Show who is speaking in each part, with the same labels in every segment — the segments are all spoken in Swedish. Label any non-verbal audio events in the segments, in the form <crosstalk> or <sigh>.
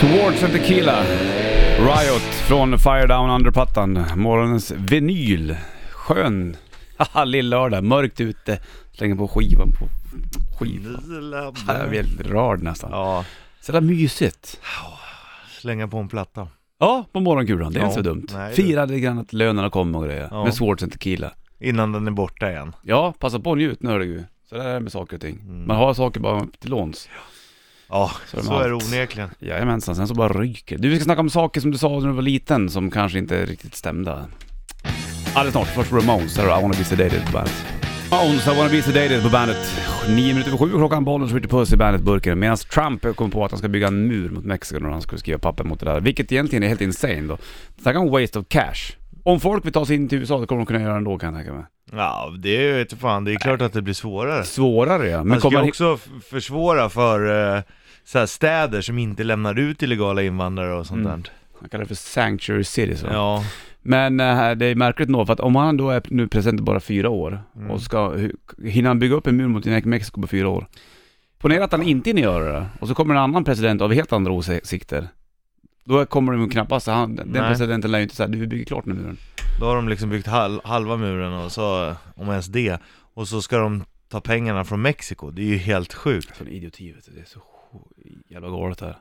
Speaker 1: Swords and Tequila. Riot från Fire Down Under-plattan. Morgonens vinyl. Skön. Haha, lill-lördag. Mörkt ute. Slänger på skivan på... Skivan. Jag blir helt rörd nästan.
Speaker 2: Ja,
Speaker 1: Så jävla mysigt.
Speaker 2: slänga på en platta.
Speaker 1: Ja, på morgonkulan. Det är
Speaker 2: Ja,
Speaker 1: inte så dumt.
Speaker 2: nej, det-
Speaker 1: Fira lite grann att lönerna kommer och grejer.
Speaker 2: Ja.
Speaker 1: Med Swords and Tequila.
Speaker 2: Innan den är borta igen.
Speaker 1: Ja, passa på och njut nu hörru du. Så där är det med saker och ting.
Speaker 2: Mm.
Speaker 1: Man har saker bara till låns.
Speaker 2: Ja,
Speaker 1: Så är det
Speaker 2: så,
Speaker 1: med
Speaker 2: är det
Speaker 1: allt.
Speaker 2: onekligen.
Speaker 1: Jajamensan, sen så bara ryker det. Du, vi ska snacka om saker som du sa när du var liten som kanske inte riktigt stämde. Alldeles snart, först Ramones, här har I wanna be sedated på bandet. Ramones, I wanna be sedated på bandet. Nio minuter över sju klockan, bollen skjuter puss i bandetburken. Medan Trump kom på att han ska bygga en mur mot Mexiko när han skulle skriva papper mot det där. Vilket egentligen är helt insane då. Snacka om waste of cash. Om folk vill ta sig in till USA, det kommer de kunna göra ändå kan jag tänka mig.
Speaker 2: Ja, det är ju inte fan, det är klart att det blir svårare.
Speaker 1: Svårare ja, men
Speaker 2: Man ska
Speaker 1: kommer
Speaker 2: ju
Speaker 1: han...
Speaker 2: också f- försvåra för eh, så här städer som inte lämnar ut illegala invandrare och sånt
Speaker 1: Mm.
Speaker 2: där.
Speaker 1: Han kallar det för sanctuary cities va?
Speaker 2: Ja,
Speaker 1: Men eh, det är märkligt nog, för att om han då är nu president i bara fyra år,
Speaker 2: Mm.
Speaker 1: och ska, hu- hinner han bygga upp en mur mot Mexiko på fyra år? Ponera att han inte hinner göra det, och så kommer en annan president av helt andra åsikter. Då kommer de ju knappast, han, den
Speaker 2: Nej.
Speaker 1: presidenten lär ju inte säga du vi bygger klart den här muren.
Speaker 2: då har de liksom byggt hal halva muren och så, om ens det, och så ska de ta pengarna från Mexiko. Det är ju helt sjukt.
Speaker 1: Sån Alltså, idioti vet du, det är så jävla galet här.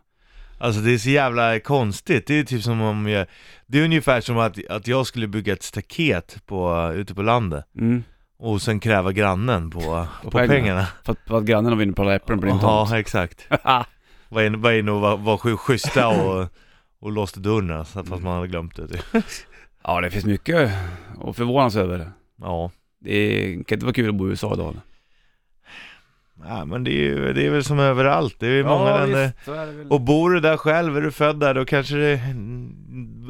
Speaker 2: Alltså det är så jävla konstigt, det är typ som om jag, Det är ungefär som att, att jag skulle bygga ett staket på, ute på landet
Speaker 1: Mm.
Speaker 2: Och sen kräva grannen på, på
Speaker 1: pengarna.
Speaker 2: pengarna,
Speaker 1: För att, för att grannen vinner på alla äpplen på din tomt. <laughs>
Speaker 2: Ja, exakt Var inne, var inne och var, var sju- schyssta och, och låste dörren så att fast man hade glömt det typ.
Speaker 1: Ja det finns mycket att förvånas över.
Speaker 2: Ja,
Speaker 1: Det är, kan inte vara kul att bo i USA idag.
Speaker 2: ja men det är, ju, det är väl som överallt, det är ju många länder
Speaker 1: så är det väl.
Speaker 2: Och bor du där själv, är du född där, då kanske det,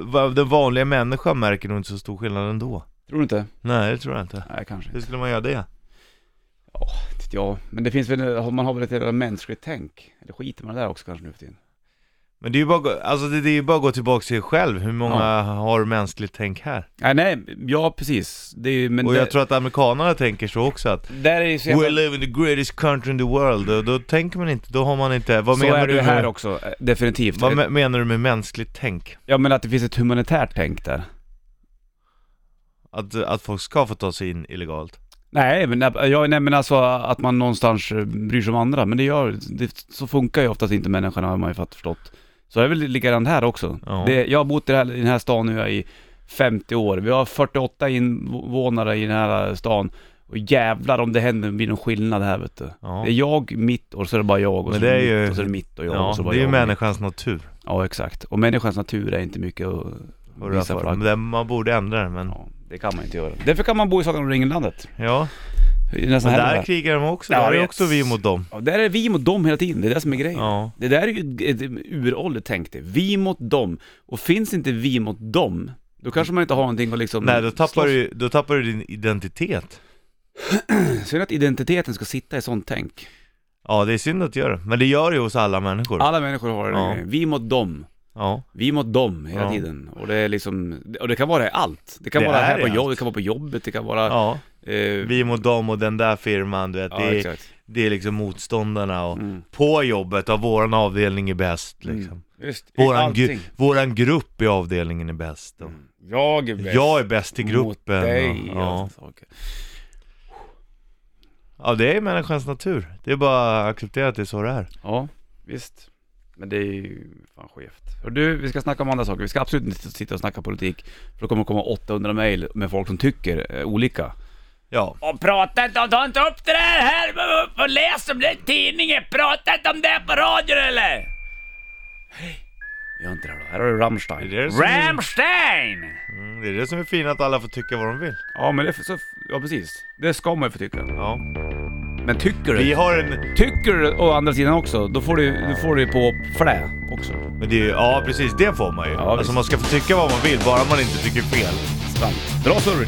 Speaker 2: vad den vanliga människan märker nog inte så stor skillnad ändå
Speaker 1: Tror du inte?
Speaker 2: Nej det tror jag inte,
Speaker 1: Nej kanske inte.
Speaker 2: hur skulle man göra det?
Speaker 1: Ja, men det finns väl, man har väl ett jävla mänskligt tänk? Eller skiter man i det där också kanske nu för tiden?
Speaker 2: Men det är ju bara, att gå- alltså det, det är ju bara att gå tillbaka till sig själv, hur många har mänskligt tänk här?
Speaker 1: Nej, nej, ja precis. Det är, ju- men
Speaker 2: och
Speaker 1: det,
Speaker 2: jag tror att amerikanerna tänker så också att
Speaker 1: där är ju så jävla,
Speaker 2: We live in the greatest country in the world, och då tänker man inte, då har man inte, vad
Speaker 1: Så
Speaker 2: menar
Speaker 1: är det
Speaker 2: du
Speaker 1: ju här
Speaker 2: med,
Speaker 1: också, eh, definitivt.
Speaker 2: Vad me- menar du med mänskligt tänk?
Speaker 1: Ja men att det finns ett humanitärt tänk där.
Speaker 2: Att, att folk ska få ta sig in illegalt?
Speaker 1: Nej men, ja, nej, men alltså att man någonstans eh, bryr sig om andra, men det gör, det, så funkar ju oftast inte människan har man ju fatt- förstått. Så är det väl likadant här också.
Speaker 2: Ja.
Speaker 1: Det, jag har bott i, det här, i den här stan nu i 50 år, vi har 48 invånare i den här stan. Och jävlar om det händer, blir någon skillnad här vet du.
Speaker 2: Ja,
Speaker 1: Det är jag, mitt och så är det bara jag och
Speaker 2: Men
Speaker 1: så är
Speaker 2: det
Speaker 1: det
Speaker 2: är
Speaker 1: mitt
Speaker 2: ju-
Speaker 1: och så är det mitt och jag och
Speaker 2: ja
Speaker 1: så bara
Speaker 2: det är ju
Speaker 1: jag. och mitt.
Speaker 2: människans natur
Speaker 1: Ja exakt. Och människans natur är inte mycket att
Speaker 2: att röra
Speaker 1: visa
Speaker 2: för.
Speaker 1: flagg.
Speaker 2: Men det- man borde ändra det men,
Speaker 1: Ja, det kan man inte göra. Därför kan man bo i Sagan om ringen-landet.
Speaker 2: ja,
Speaker 1: Det är nästan
Speaker 2: men
Speaker 1: hellre
Speaker 2: där
Speaker 1: där.
Speaker 2: krigar de också,
Speaker 1: Ja,
Speaker 2: där är
Speaker 1: jag
Speaker 2: ju
Speaker 1: vet.
Speaker 2: också vi mot dem
Speaker 1: Ja, där är vi mot dem hela tiden, det är det som är grejen.
Speaker 2: Ja,
Speaker 1: Det där är ju ett uråldrigt tänk det. Vi mot dem. Och finns inte vi mot dem, då kanske man inte har någonting att liksom...
Speaker 2: nej då tappar,
Speaker 1: slåss-
Speaker 2: du, då tappar du din identitet
Speaker 1: Synd att identiteten ska sitta i sånt tänk.
Speaker 2: Ja, det är synd att göra det, men det gör det ju hos alla människor.
Speaker 1: Alla människor har det.
Speaker 2: Ja.
Speaker 1: Vi mot dem.
Speaker 2: Ja,
Speaker 1: Vi mot dem hela
Speaker 2: Ja.
Speaker 1: tiden. Och det är liksom, och det kan vara i allt. Det kan
Speaker 2: Det
Speaker 1: vara
Speaker 2: är
Speaker 1: här
Speaker 2: i
Speaker 1: på
Speaker 2: allt.
Speaker 1: jobbet, det kan vara på jobbet, det kan vara...
Speaker 2: ja.
Speaker 1: eh,
Speaker 2: Vi mot dem och den där firman, du vet.
Speaker 1: ja,
Speaker 2: det, är,
Speaker 1: exakt.
Speaker 2: det är liksom motståndarna och
Speaker 1: Mm.
Speaker 2: på jobbet, av våran avdelning är bäst liksom.
Speaker 1: Mm. Just, i
Speaker 2: Våran, gru-
Speaker 1: allting.
Speaker 2: våran grupp i avdelningen är bäst. Och
Speaker 1: Mm. Jag är bäst.
Speaker 2: Jag är bäst i
Speaker 1: Mot
Speaker 2: gruppen.
Speaker 1: dig. alltså. och
Speaker 2: och, ja.
Speaker 1: sånt saker.
Speaker 2: ja, det är människans natur. Det är bara att acceptera att det är så det är.
Speaker 1: ja, visst. Men det är ju fan skevt. Och du, vi ska snacka om andra saker. Vi ska absolut inte sitta och snacka politik. För då kommer det komma 800 mejl med folk som tycker eh, olika.
Speaker 2: Ja,
Speaker 1: Och prata inte om, ta inte upp det där här! Och läs om det i tidningen! Prata inte om det på radion eller! Hej! Gör inte det då. Här har du Rammstein.
Speaker 2: Det är det som-
Speaker 1: Rammstein!
Speaker 2: mm, det är det som är fint att alla får tycka vad de vill.
Speaker 1: Ja men det, är så, ja precis. Det ska man ju få tycka.
Speaker 2: Ja.
Speaker 1: Men tycker
Speaker 2: Vi
Speaker 1: du?
Speaker 2: har en...
Speaker 1: Tycker du å andra sidan också, då får du, då får du ju på flä också.
Speaker 2: Men det är, ju- ja, precis. Det får man ju.
Speaker 1: Ja, visst.
Speaker 2: alltså man ska få tycka vad man vill, bara man inte tycker fel.
Speaker 1: Sant. Bra surr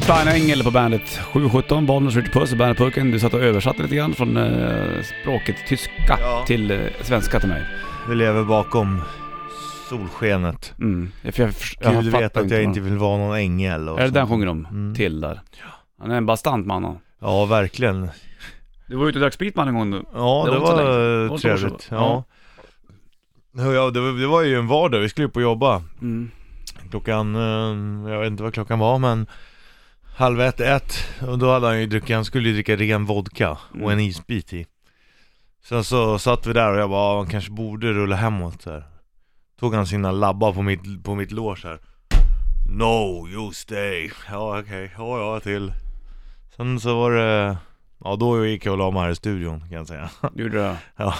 Speaker 1: Stein Engel på bandet. 717, Bollnäs Ritchie Puss i bandetburken. Du satt och översatte lite grann från eh, språket tyska
Speaker 2: Ja.
Speaker 1: till eh, svenska till mig.
Speaker 2: Vi lever bakom solskenet.
Speaker 1: Mm. Jag, för jag, förs- jag
Speaker 2: Gud
Speaker 1: fattar
Speaker 2: vet att jag
Speaker 1: vad-
Speaker 2: inte vill vara någon ängel och
Speaker 1: Är det
Speaker 2: sånt.
Speaker 1: den sjunger om?
Speaker 2: Mm.
Speaker 1: Till där. Han är en bastant man han.
Speaker 2: Ja, verkligen.
Speaker 1: Du var ute och drack sprit man en gång nu.
Speaker 2: Ja,
Speaker 1: Det
Speaker 2: det,
Speaker 1: var inte så
Speaker 2: var,
Speaker 1: länge. Det var
Speaker 2: eh,
Speaker 1: inte så länge
Speaker 2: trevligt.
Speaker 1: sedan.
Speaker 2: Ja. Ja, det, var- det var ju en vardag, vi skulle upp och jobba
Speaker 1: Mm.
Speaker 2: Klockan, eh, jag vet inte vad klockan var men Halv ett, ett och då hade han ju druckit, han skulle ju dricka ren vodka
Speaker 1: Mm.
Speaker 2: och en isbit i Sen så satt vi där och jag bara, "Ah, han kanske borde rulla hemåt så här. Tog han sina labbar på mitt, på mitt lår så här. No, you stay Ja okej, ja ja till Sen så var det, ja då gick jag och la mig här i studion kan jag säga
Speaker 1: Du gjorde det?
Speaker 2: Jag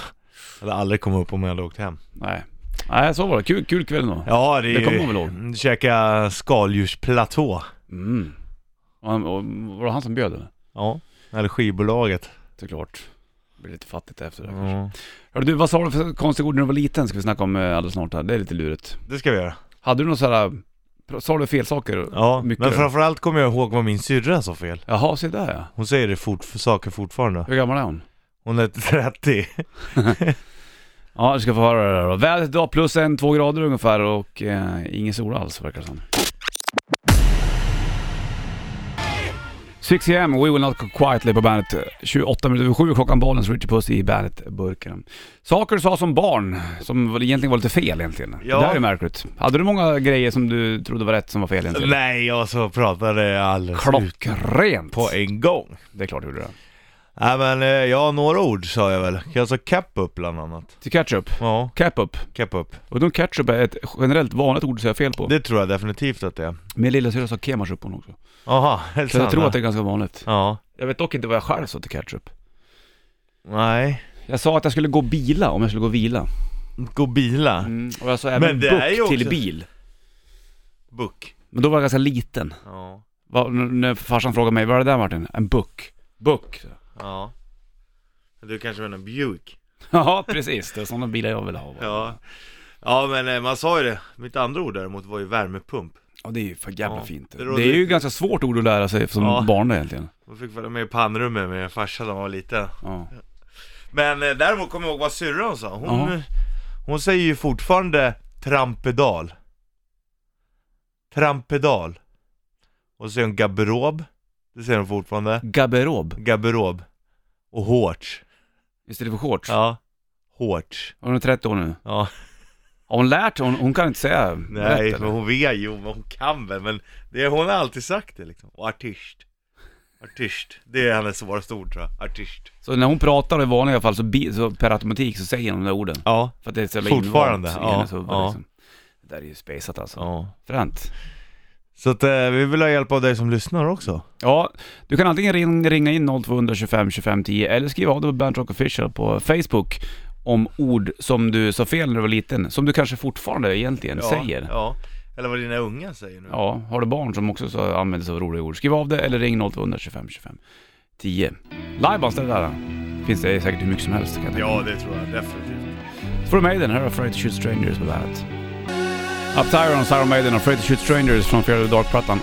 Speaker 2: hade aldrig kommit upp om jag hade åkt hem
Speaker 1: Nej. Nej, så var det. Kul, kul kväll då.
Speaker 2: Ja det är
Speaker 1: Det kommer
Speaker 2: ju-
Speaker 1: man väl ihåg?
Speaker 2: Käka skaldjursplatå
Speaker 1: Mm. Och han, och, var det han som bjöd eller?
Speaker 2: Ja, eller skivbolaget
Speaker 1: Såklart. Det blir lite fattigt efter det.
Speaker 2: ja.
Speaker 1: Hörru du, vad sa du för konstiga ord när du var liten? Ska vi snacka om eh, alldeles snart här. Det är lite lurigt.
Speaker 2: Det ska vi göra
Speaker 1: Hade du någon sån här... pr- Sa du fel saker?
Speaker 2: Ja,
Speaker 1: Mycket.
Speaker 2: men framförallt kommer jag ihåg vad min syrra sa fel
Speaker 1: Jaha, se där ja.
Speaker 2: Hon säger det fort, för saker fortfarande
Speaker 1: Hur gammal är hon?
Speaker 2: Hon är 30
Speaker 1: Ja, du ska få höra det där då. Vädret idag plus en, två grader ungefär och eh, ingen sol alls verkar det som. 6 am, We Will Not Go Quietly på bandet. 28 minuter över 7 klockan, Bollens Richie Puss i bandet-burken. Saker du sa som barn, som väl egentligen var lite fel egentligen.
Speaker 2: Ja.
Speaker 1: Det där är märkligt. Hade du många grejer som du trodde var rätt som var fel egentligen?
Speaker 2: Nej, jag så pratade alldeles ut
Speaker 1: Klockrent!
Speaker 2: Eh, på en gång
Speaker 1: Det är klart du gjorde det.
Speaker 2: Nej men, eh, ja några ord sa jag väl Jag sa cap up bland annat
Speaker 1: Till ketchup.
Speaker 2: Ja,
Speaker 1: Cap-up.
Speaker 2: cap up
Speaker 1: Och de ketchup är ett generellt vanligt ord att säga fel på.
Speaker 2: Det tror jag definitivt att det är
Speaker 1: Min lillasyrra sa kemachup hon också.
Speaker 2: Jaha, helt
Speaker 1: Så jag
Speaker 2: sant
Speaker 1: tror
Speaker 2: ja.
Speaker 1: att det är ganska vanligt.
Speaker 2: Ja,
Speaker 1: Jag vet dock inte vad jag själv sa till ketchup.
Speaker 2: nej
Speaker 1: Jag sa att jag skulle gå och bila om jag skulle gå och vila.
Speaker 2: Gå bila,
Speaker 1: Och jag sa även
Speaker 2: Mm. Men det
Speaker 1: buck
Speaker 2: är ju också-
Speaker 1: till bil.
Speaker 2: buck
Speaker 1: Men då var jag ganska liten.
Speaker 2: Ja,
Speaker 1: Va, n- när farsan frågade mig, vad är det där Martin? En buck. Buck. <laughs>
Speaker 2: ja Du kanske menar Buick?
Speaker 1: Ja precis, det är sådana bilar jag vill ha. Ja,
Speaker 2: Ja Ja men eh, man sa ju det, mitt andra ord däremot var ju värmepump
Speaker 1: det är ju för jävla
Speaker 2: Ja,
Speaker 1: fint.
Speaker 2: det
Speaker 1: Det,
Speaker 2: råder-
Speaker 1: är ju ganska svårt ord att lära sig som
Speaker 2: Ja.
Speaker 1: barn där egentligen.
Speaker 2: Man fick följa med i pannrummet med min farsa när man var liten
Speaker 1: Ja.
Speaker 2: Men eh, däremot kommer jag ihåg vad syrran sa, hon,
Speaker 1: Jaha.
Speaker 2: hon säger ju fortfarande trampedal Trampedal Och så säger hon garderob, det säger hon fortfarande
Speaker 1: Gaberob,
Speaker 2: Garderob Och hårt
Speaker 1: istället för shorts.
Speaker 2: Ja, hårt
Speaker 1: Hon är 30 år nu.
Speaker 2: Ja,
Speaker 1: Har hon lärt sig? Hon, hon kan inte säga
Speaker 2: nej
Speaker 1: rätt
Speaker 2: men
Speaker 1: eller?
Speaker 2: hon vet ju, men hon kan väl men det, Hon har alltid sagt det liksom, och artist Artist, det är hennes svåraste ord tror jag, artist
Speaker 1: Så när hon pratar i vanliga fall så, bi, så per automatik så säger hon de där orden.
Speaker 2: Ja,
Speaker 1: För att det är så jävla
Speaker 2: Fortfarande,
Speaker 1: invant
Speaker 2: ja,
Speaker 1: i hennes huvud
Speaker 2: ja.
Speaker 1: liksom. Det där är ju spejsat alltså.
Speaker 2: ja
Speaker 1: Fränt.
Speaker 2: Så att eh, vi vill ha hjälp av dig som lyssnar också.
Speaker 1: Ja, du kan antingen ring, ringa in 0225 25 10 eller skriva av dig på Bernt Rock Official på Facebook om ord som du sa fel när du var liten, som du kanske fortfarande egentligen säger. Ja.
Speaker 2: Ja, eller vad dina unga säger nu.
Speaker 1: har du barn som också så använder sig av roliga ord, skriv av det eller ring 0225 25 10. Livebands, det där finns det säkert hur mycket som helst. Kan jag tänka
Speaker 2: Ja, det tror jag definitivt.
Speaker 1: Från Maiden, här är Afraid to Shoot Strangers på bandet. Up Tyrons, Iron Maiden, Afraid to Shoot Strangers från Fear of the Dark-plattan.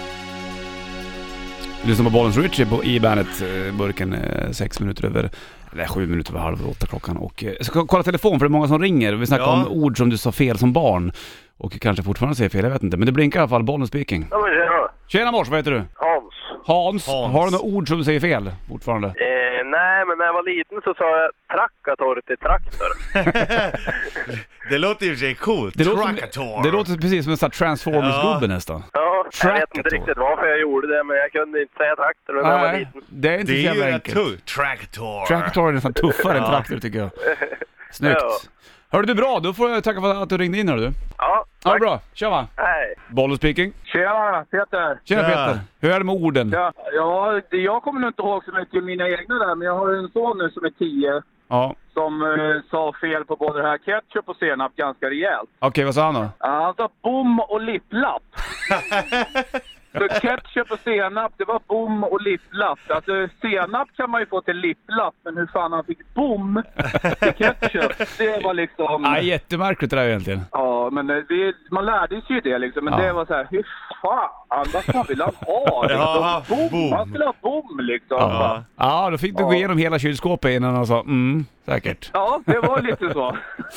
Speaker 1: Du lyssnar på Bollens Richie på i bandet, eh, burken 6 minuter över, eller 7 minuter över halv åtta klockan. Och eh, jag ska kolla telefon för det är många som ringer. Vi snackar
Speaker 2: Ja.
Speaker 1: om ord som du sa fel som barn. Och kanske fortfarande säger fel, jag vet inte. Men det blinkar i alla fall, Bollens speaking.
Speaker 3: Ja men tjena,
Speaker 1: Tjena mors, vad heter du?
Speaker 3: Hans.
Speaker 1: Hans.
Speaker 2: Hans.
Speaker 1: Har du några ord som du säger fel fortfarande?
Speaker 3: Eh, nej men när jag var liten så sa jag trakkator till traktor.
Speaker 2: Det låter i och för sig coolt.
Speaker 1: Det låter,
Speaker 2: Krakatoa.
Speaker 1: som, det låter precis som en sån här Transformers-gubbe
Speaker 2: Ja.
Speaker 1: nästan.
Speaker 3: Ja, jag vet
Speaker 1: Traktor.
Speaker 3: inte riktigt varför jag gjorde det men jag kunde inte säga traktor när jag var
Speaker 1: Nej,
Speaker 3: liten.
Speaker 1: det är inte
Speaker 2: Det
Speaker 1: så
Speaker 2: är ju
Speaker 1: jävla
Speaker 2: rätt
Speaker 1: enkelt.
Speaker 2: tungt. Traktor.
Speaker 1: Traktor är nästan tuffare än
Speaker 2: Ja.
Speaker 1: traktor tycker jag. Snyggt.
Speaker 3: Ja.
Speaker 1: Hörde du bra, då får jag tacka för att du ringde in hörru du.
Speaker 3: Ja,
Speaker 1: Ja, det bra. Tja va.
Speaker 3: hej.
Speaker 1: Bollen speaking.
Speaker 4: Tjena, Peter.
Speaker 1: Tjena
Speaker 2: Tja.
Speaker 1: Peter. Hur är det med orden?
Speaker 4: Ja, ja, det- jag kommer nog inte ihåg så mycket mina egna där, men jag har en son nu som är 10
Speaker 1: Ja.
Speaker 4: som eh, sa fel på både det här ketchup och senap ganska rejält.
Speaker 1: Okej, vad sa han då?
Speaker 4: Ja, Han sa bom och lipplapp. Så ketchup och senap, det var bom och lipplapp. Alltså senap kan man ju få till lipplapp, men hur fan han fick bom till ketchup, det var liksom...
Speaker 1: Ja, jättemärkligt det där egentligen.
Speaker 4: Ja, men eh, det, man lärde sig ju det liksom. Men
Speaker 1: Ja.
Speaker 4: det var så här, hur fan, vad fan vill han ha? Liksom,
Speaker 2: Ja,
Speaker 4: bom.
Speaker 2: bom.
Speaker 4: Han skulle ha bom liksom.
Speaker 1: Ja.
Speaker 4: Ja.
Speaker 1: ja, då fick du gå igenom hela kylskåpet innan han sa mm, säkert.
Speaker 4: det var lite så. <laughs>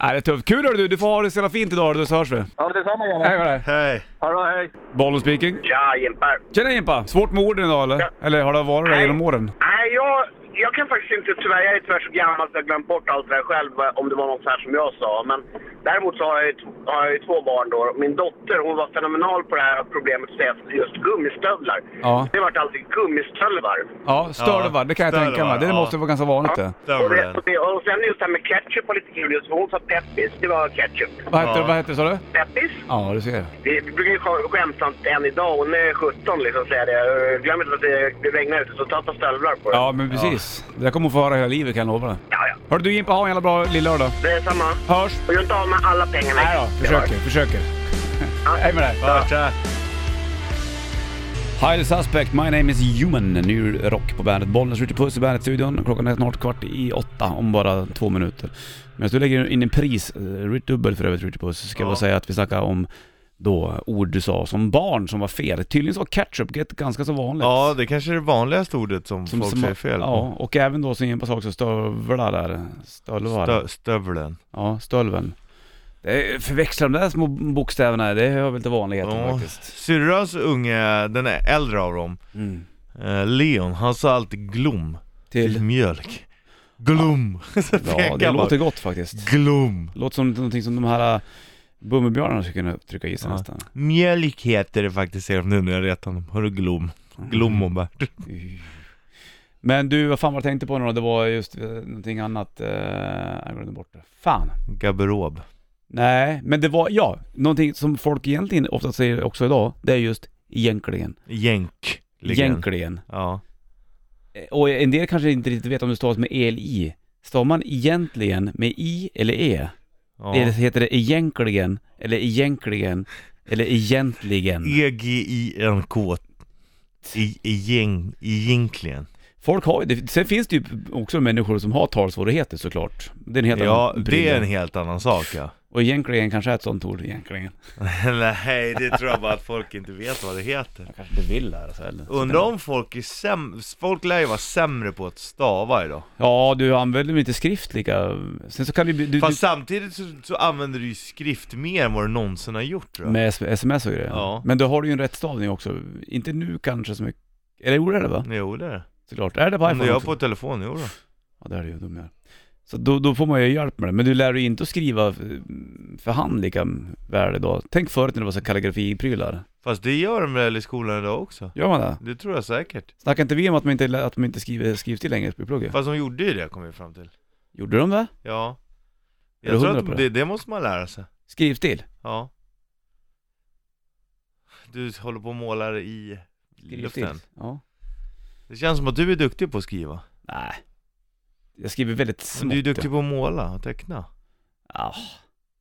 Speaker 1: Ja, det är tufft. Kul hörru du, du får ha det så jävla fint idag hörru du, så hörs vi.
Speaker 4: ja, detsamma
Speaker 1: Hej
Speaker 4: gärna.
Speaker 1: med dig.
Speaker 2: Hej.
Speaker 4: Ha det, hej.
Speaker 1: Bollen speaking.
Speaker 3: Ja, Jimpa.
Speaker 1: Tjena Jimpa. Svårt med orden idag eller? Eller har det varit det genom åren?
Speaker 3: Nej, jag, jag kan faktiskt inte, tyvärr, jag är tyvärr så gammal så jag har glömt bort allt det där själv eh, om det var något så här som jag sa. Men däremot så har jag ju, t- har jag ju två barn då. Min dotter hon var fenomenal på det här problemet att säga just gummistövlar.
Speaker 1: Ja.
Speaker 3: Det vart alltid gummistölvar.
Speaker 1: Ja, störvar,
Speaker 2: Ja,
Speaker 1: det kan jag tänka mig.
Speaker 2: störvar,
Speaker 1: Det
Speaker 2: ja.
Speaker 1: måste vara ganska vanligt det.
Speaker 2: Där
Speaker 3: Och,
Speaker 2: var
Speaker 3: det,
Speaker 2: den.
Speaker 3: och, det, och sen just det här med ketchup var lite kul just för hon sa peppis, det var ketchup.
Speaker 1: Vad heter,
Speaker 2: Ja.
Speaker 1: vad heter det, sa du?
Speaker 3: Peppis?
Speaker 1: Ja, du ser.
Speaker 3: Vi brukar ju sk- skämtsamt än idag, hon är 17 liksom, säga det. Glöm inte att det, det regnar ute så ta ett par stövlar på det.
Speaker 1: Ja, men precis. Det där kommer hon få höra hela livet kan jag lova dig.
Speaker 3: ja. ja.
Speaker 1: Hörru du Jimpa, ha en jävla bra lillördag.
Speaker 3: Det är samma.
Speaker 1: Hörs!
Speaker 3: Och gör inte av med alla pengarna.
Speaker 1: Nej då, försöker, försöker. <laughs> Hej med dig!
Speaker 2: Ja, tja.
Speaker 1: Hide Suspect, My Name Is Human. Ny rock på bandet. Bollen skjuter puss i bandet-studion. Klockan är snart kvart i åtta, om bara två minuter. Medan du lägger in en pris, eh, dubbel för övrigt skjuter puss, så ska jag
Speaker 2: Ja.
Speaker 1: bara säga att vi snackar om då ord du sa som barn som var fel. Tydligen så var ketchup ett ganska så vanligt.
Speaker 2: ja, det kanske är det vanligaste ordet som, folk säger fel.
Speaker 1: Ja, och även då som Jimpa sa också, stövlar där. Stölvar.
Speaker 2: Stö, stövlen.
Speaker 1: Ja, stölven. Det är- Förväxla de där små bokstäverna, det hör väl till vanligheten
Speaker 2: Ja.
Speaker 1: faktiskt.
Speaker 2: Syrrans unge, den är äldre av dem,
Speaker 1: Mm.
Speaker 2: eh, Leon, han sa alltid glom till <laughs>
Speaker 1: Till...
Speaker 2: mjölk. Glom! Så
Speaker 1: Ja,
Speaker 2: pekar
Speaker 1: det
Speaker 2: han bara.
Speaker 1: låter gott faktiskt.
Speaker 2: Glom!
Speaker 1: Låter som någonting som de här äh, Bummibjörnarna skulle kunna trycka i sig
Speaker 2: Ja.
Speaker 1: nästan.
Speaker 2: Mjölk heter det faktiskt, säger de nu när jag retar honom. Hörru glom. Glom och bärt.
Speaker 1: Men du, vad fan var jag tänkte på nu då? Det var just eh, någonting annat. eh, Jag glömde bort det. Fan.
Speaker 2: Garderob.
Speaker 1: Nej, men det var, ja, någonting som folk egentligen ofta säger också idag, det är just egentligen.
Speaker 2: Jänk.
Speaker 1: Egentligen.
Speaker 2: Ja.
Speaker 1: Eh, Och en del kanske inte riktigt vet om det stavas med el-i. Stavar man egentligen med i eller e?
Speaker 2: ja.
Speaker 1: Eller heter det egentligen, eller egentligen, eller egentligen?
Speaker 2: E- E-G-I-N-K. I- Egent, egentligen.
Speaker 1: Folk har ju, det- sen finns det ju också människor som har talsvårigheter såklart. Det är en helt
Speaker 2: Ja,
Speaker 1: annan
Speaker 2: det
Speaker 1: pryl.
Speaker 2: är en helt annan sak ja.
Speaker 1: Och egentligen kanske är ett sånt ord egentligen.
Speaker 2: <laughs> Nej, det tror jag bara att folk inte vet vad det heter.
Speaker 1: Jag kanske inte vill lära sig heller.
Speaker 2: Undrar om folk är sämre, folk lär ju vara sämre på att stava idag.
Speaker 1: Ja, du använder väl inte skrift lika... Sen så kan du... du,
Speaker 2: Fast samtidigt så, så använder du ju skrift mer än vad du någonsin har gjort
Speaker 1: du
Speaker 2: tror jag.
Speaker 1: med s- sms och grejer.
Speaker 2: Ja.
Speaker 1: Men då har du ju en rättstavning också. Inte nu kanske så mycket. Eller jo, det är det va?
Speaker 2: Jo det är det.
Speaker 1: Såklart. Är det på
Speaker 2: Om du
Speaker 1: iPhone
Speaker 2: gör
Speaker 1: också?
Speaker 2: på telefon, jo då.
Speaker 1: Ja, det är det ju. De gör. Så då, då får man ju hjälp med det. Men du lär dig inte att skriva f- för hand lika väl idag. Tänk förut när det var så kalligrafiprylar.
Speaker 2: Fast det gör de väl i skolan idag också?
Speaker 1: Gör man det?
Speaker 2: Det tror jag säkert.
Speaker 1: Snackar inte vi om att man inte, lä- att man inte skriver, skriver till längre i plugget?
Speaker 2: Fast de gjorde ju det kom vi fram till.
Speaker 1: Gjorde de det?
Speaker 2: Ja.
Speaker 1: Är du
Speaker 2: Jag tror
Speaker 1: hundra på
Speaker 2: att
Speaker 1: det?
Speaker 2: det, det måste man lära sig.
Speaker 1: Skriv till.
Speaker 2: Ja. Du håller på och målar i
Speaker 1: Skriv
Speaker 2: luften.
Speaker 1: till. Ja.
Speaker 2: Det känns som att du är duktig på att skriva.
Speaker 1: Nej. Jag skriver väldigt
Speaker 2: Men
Speaker 1: smått.
Speaker 2: du är duktig på att måla och teckna.
Speaker 1: Ja.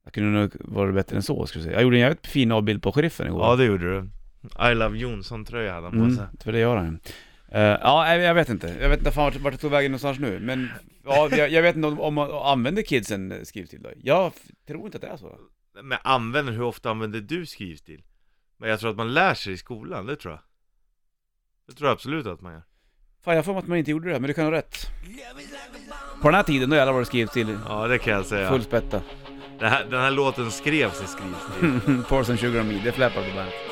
Speaker 1: Jag kunde nog varit bättre än så skulle jag säga. Jag gjorde en jävligt fin avbild på sheriffen igår.
Speaker 2: Ja, det gjorde du. I love Jonsson-tröja hade han på
Speaker 1: Mm,
Speaker 2: sig.
Speaker 1: för det gör han ju. Eh, ja, nej, jag vet inte. Jag vet inte fan vart, vart det tog vägen någonstans nu. Men ja, jag, jag vet inte om, om man använder kidsen eh, skriv till då. Jag f- tror inte att det är så.
Speaker 2: Men använder, hur ofta använder du skrivstil? Men jag tror att man lär sig i skolan, det tror jag. Det tror jag absolut att man gör.
Speaker 1: Fan, jag har för mig att man inte gjorde det, men du kan ha rätt. På den här tiden, då jävlar var det skriv till.
Speaker 2: Ja, det kan jag
Speaker 1: <laughs>
Speaker 2: säga.
Speaker 1: Full spätta.
Speaker 2: Det här, den här låten skrevs i skrivstil.
Speaker 1: Porsen Sugar och Me, det fläpar på bandet.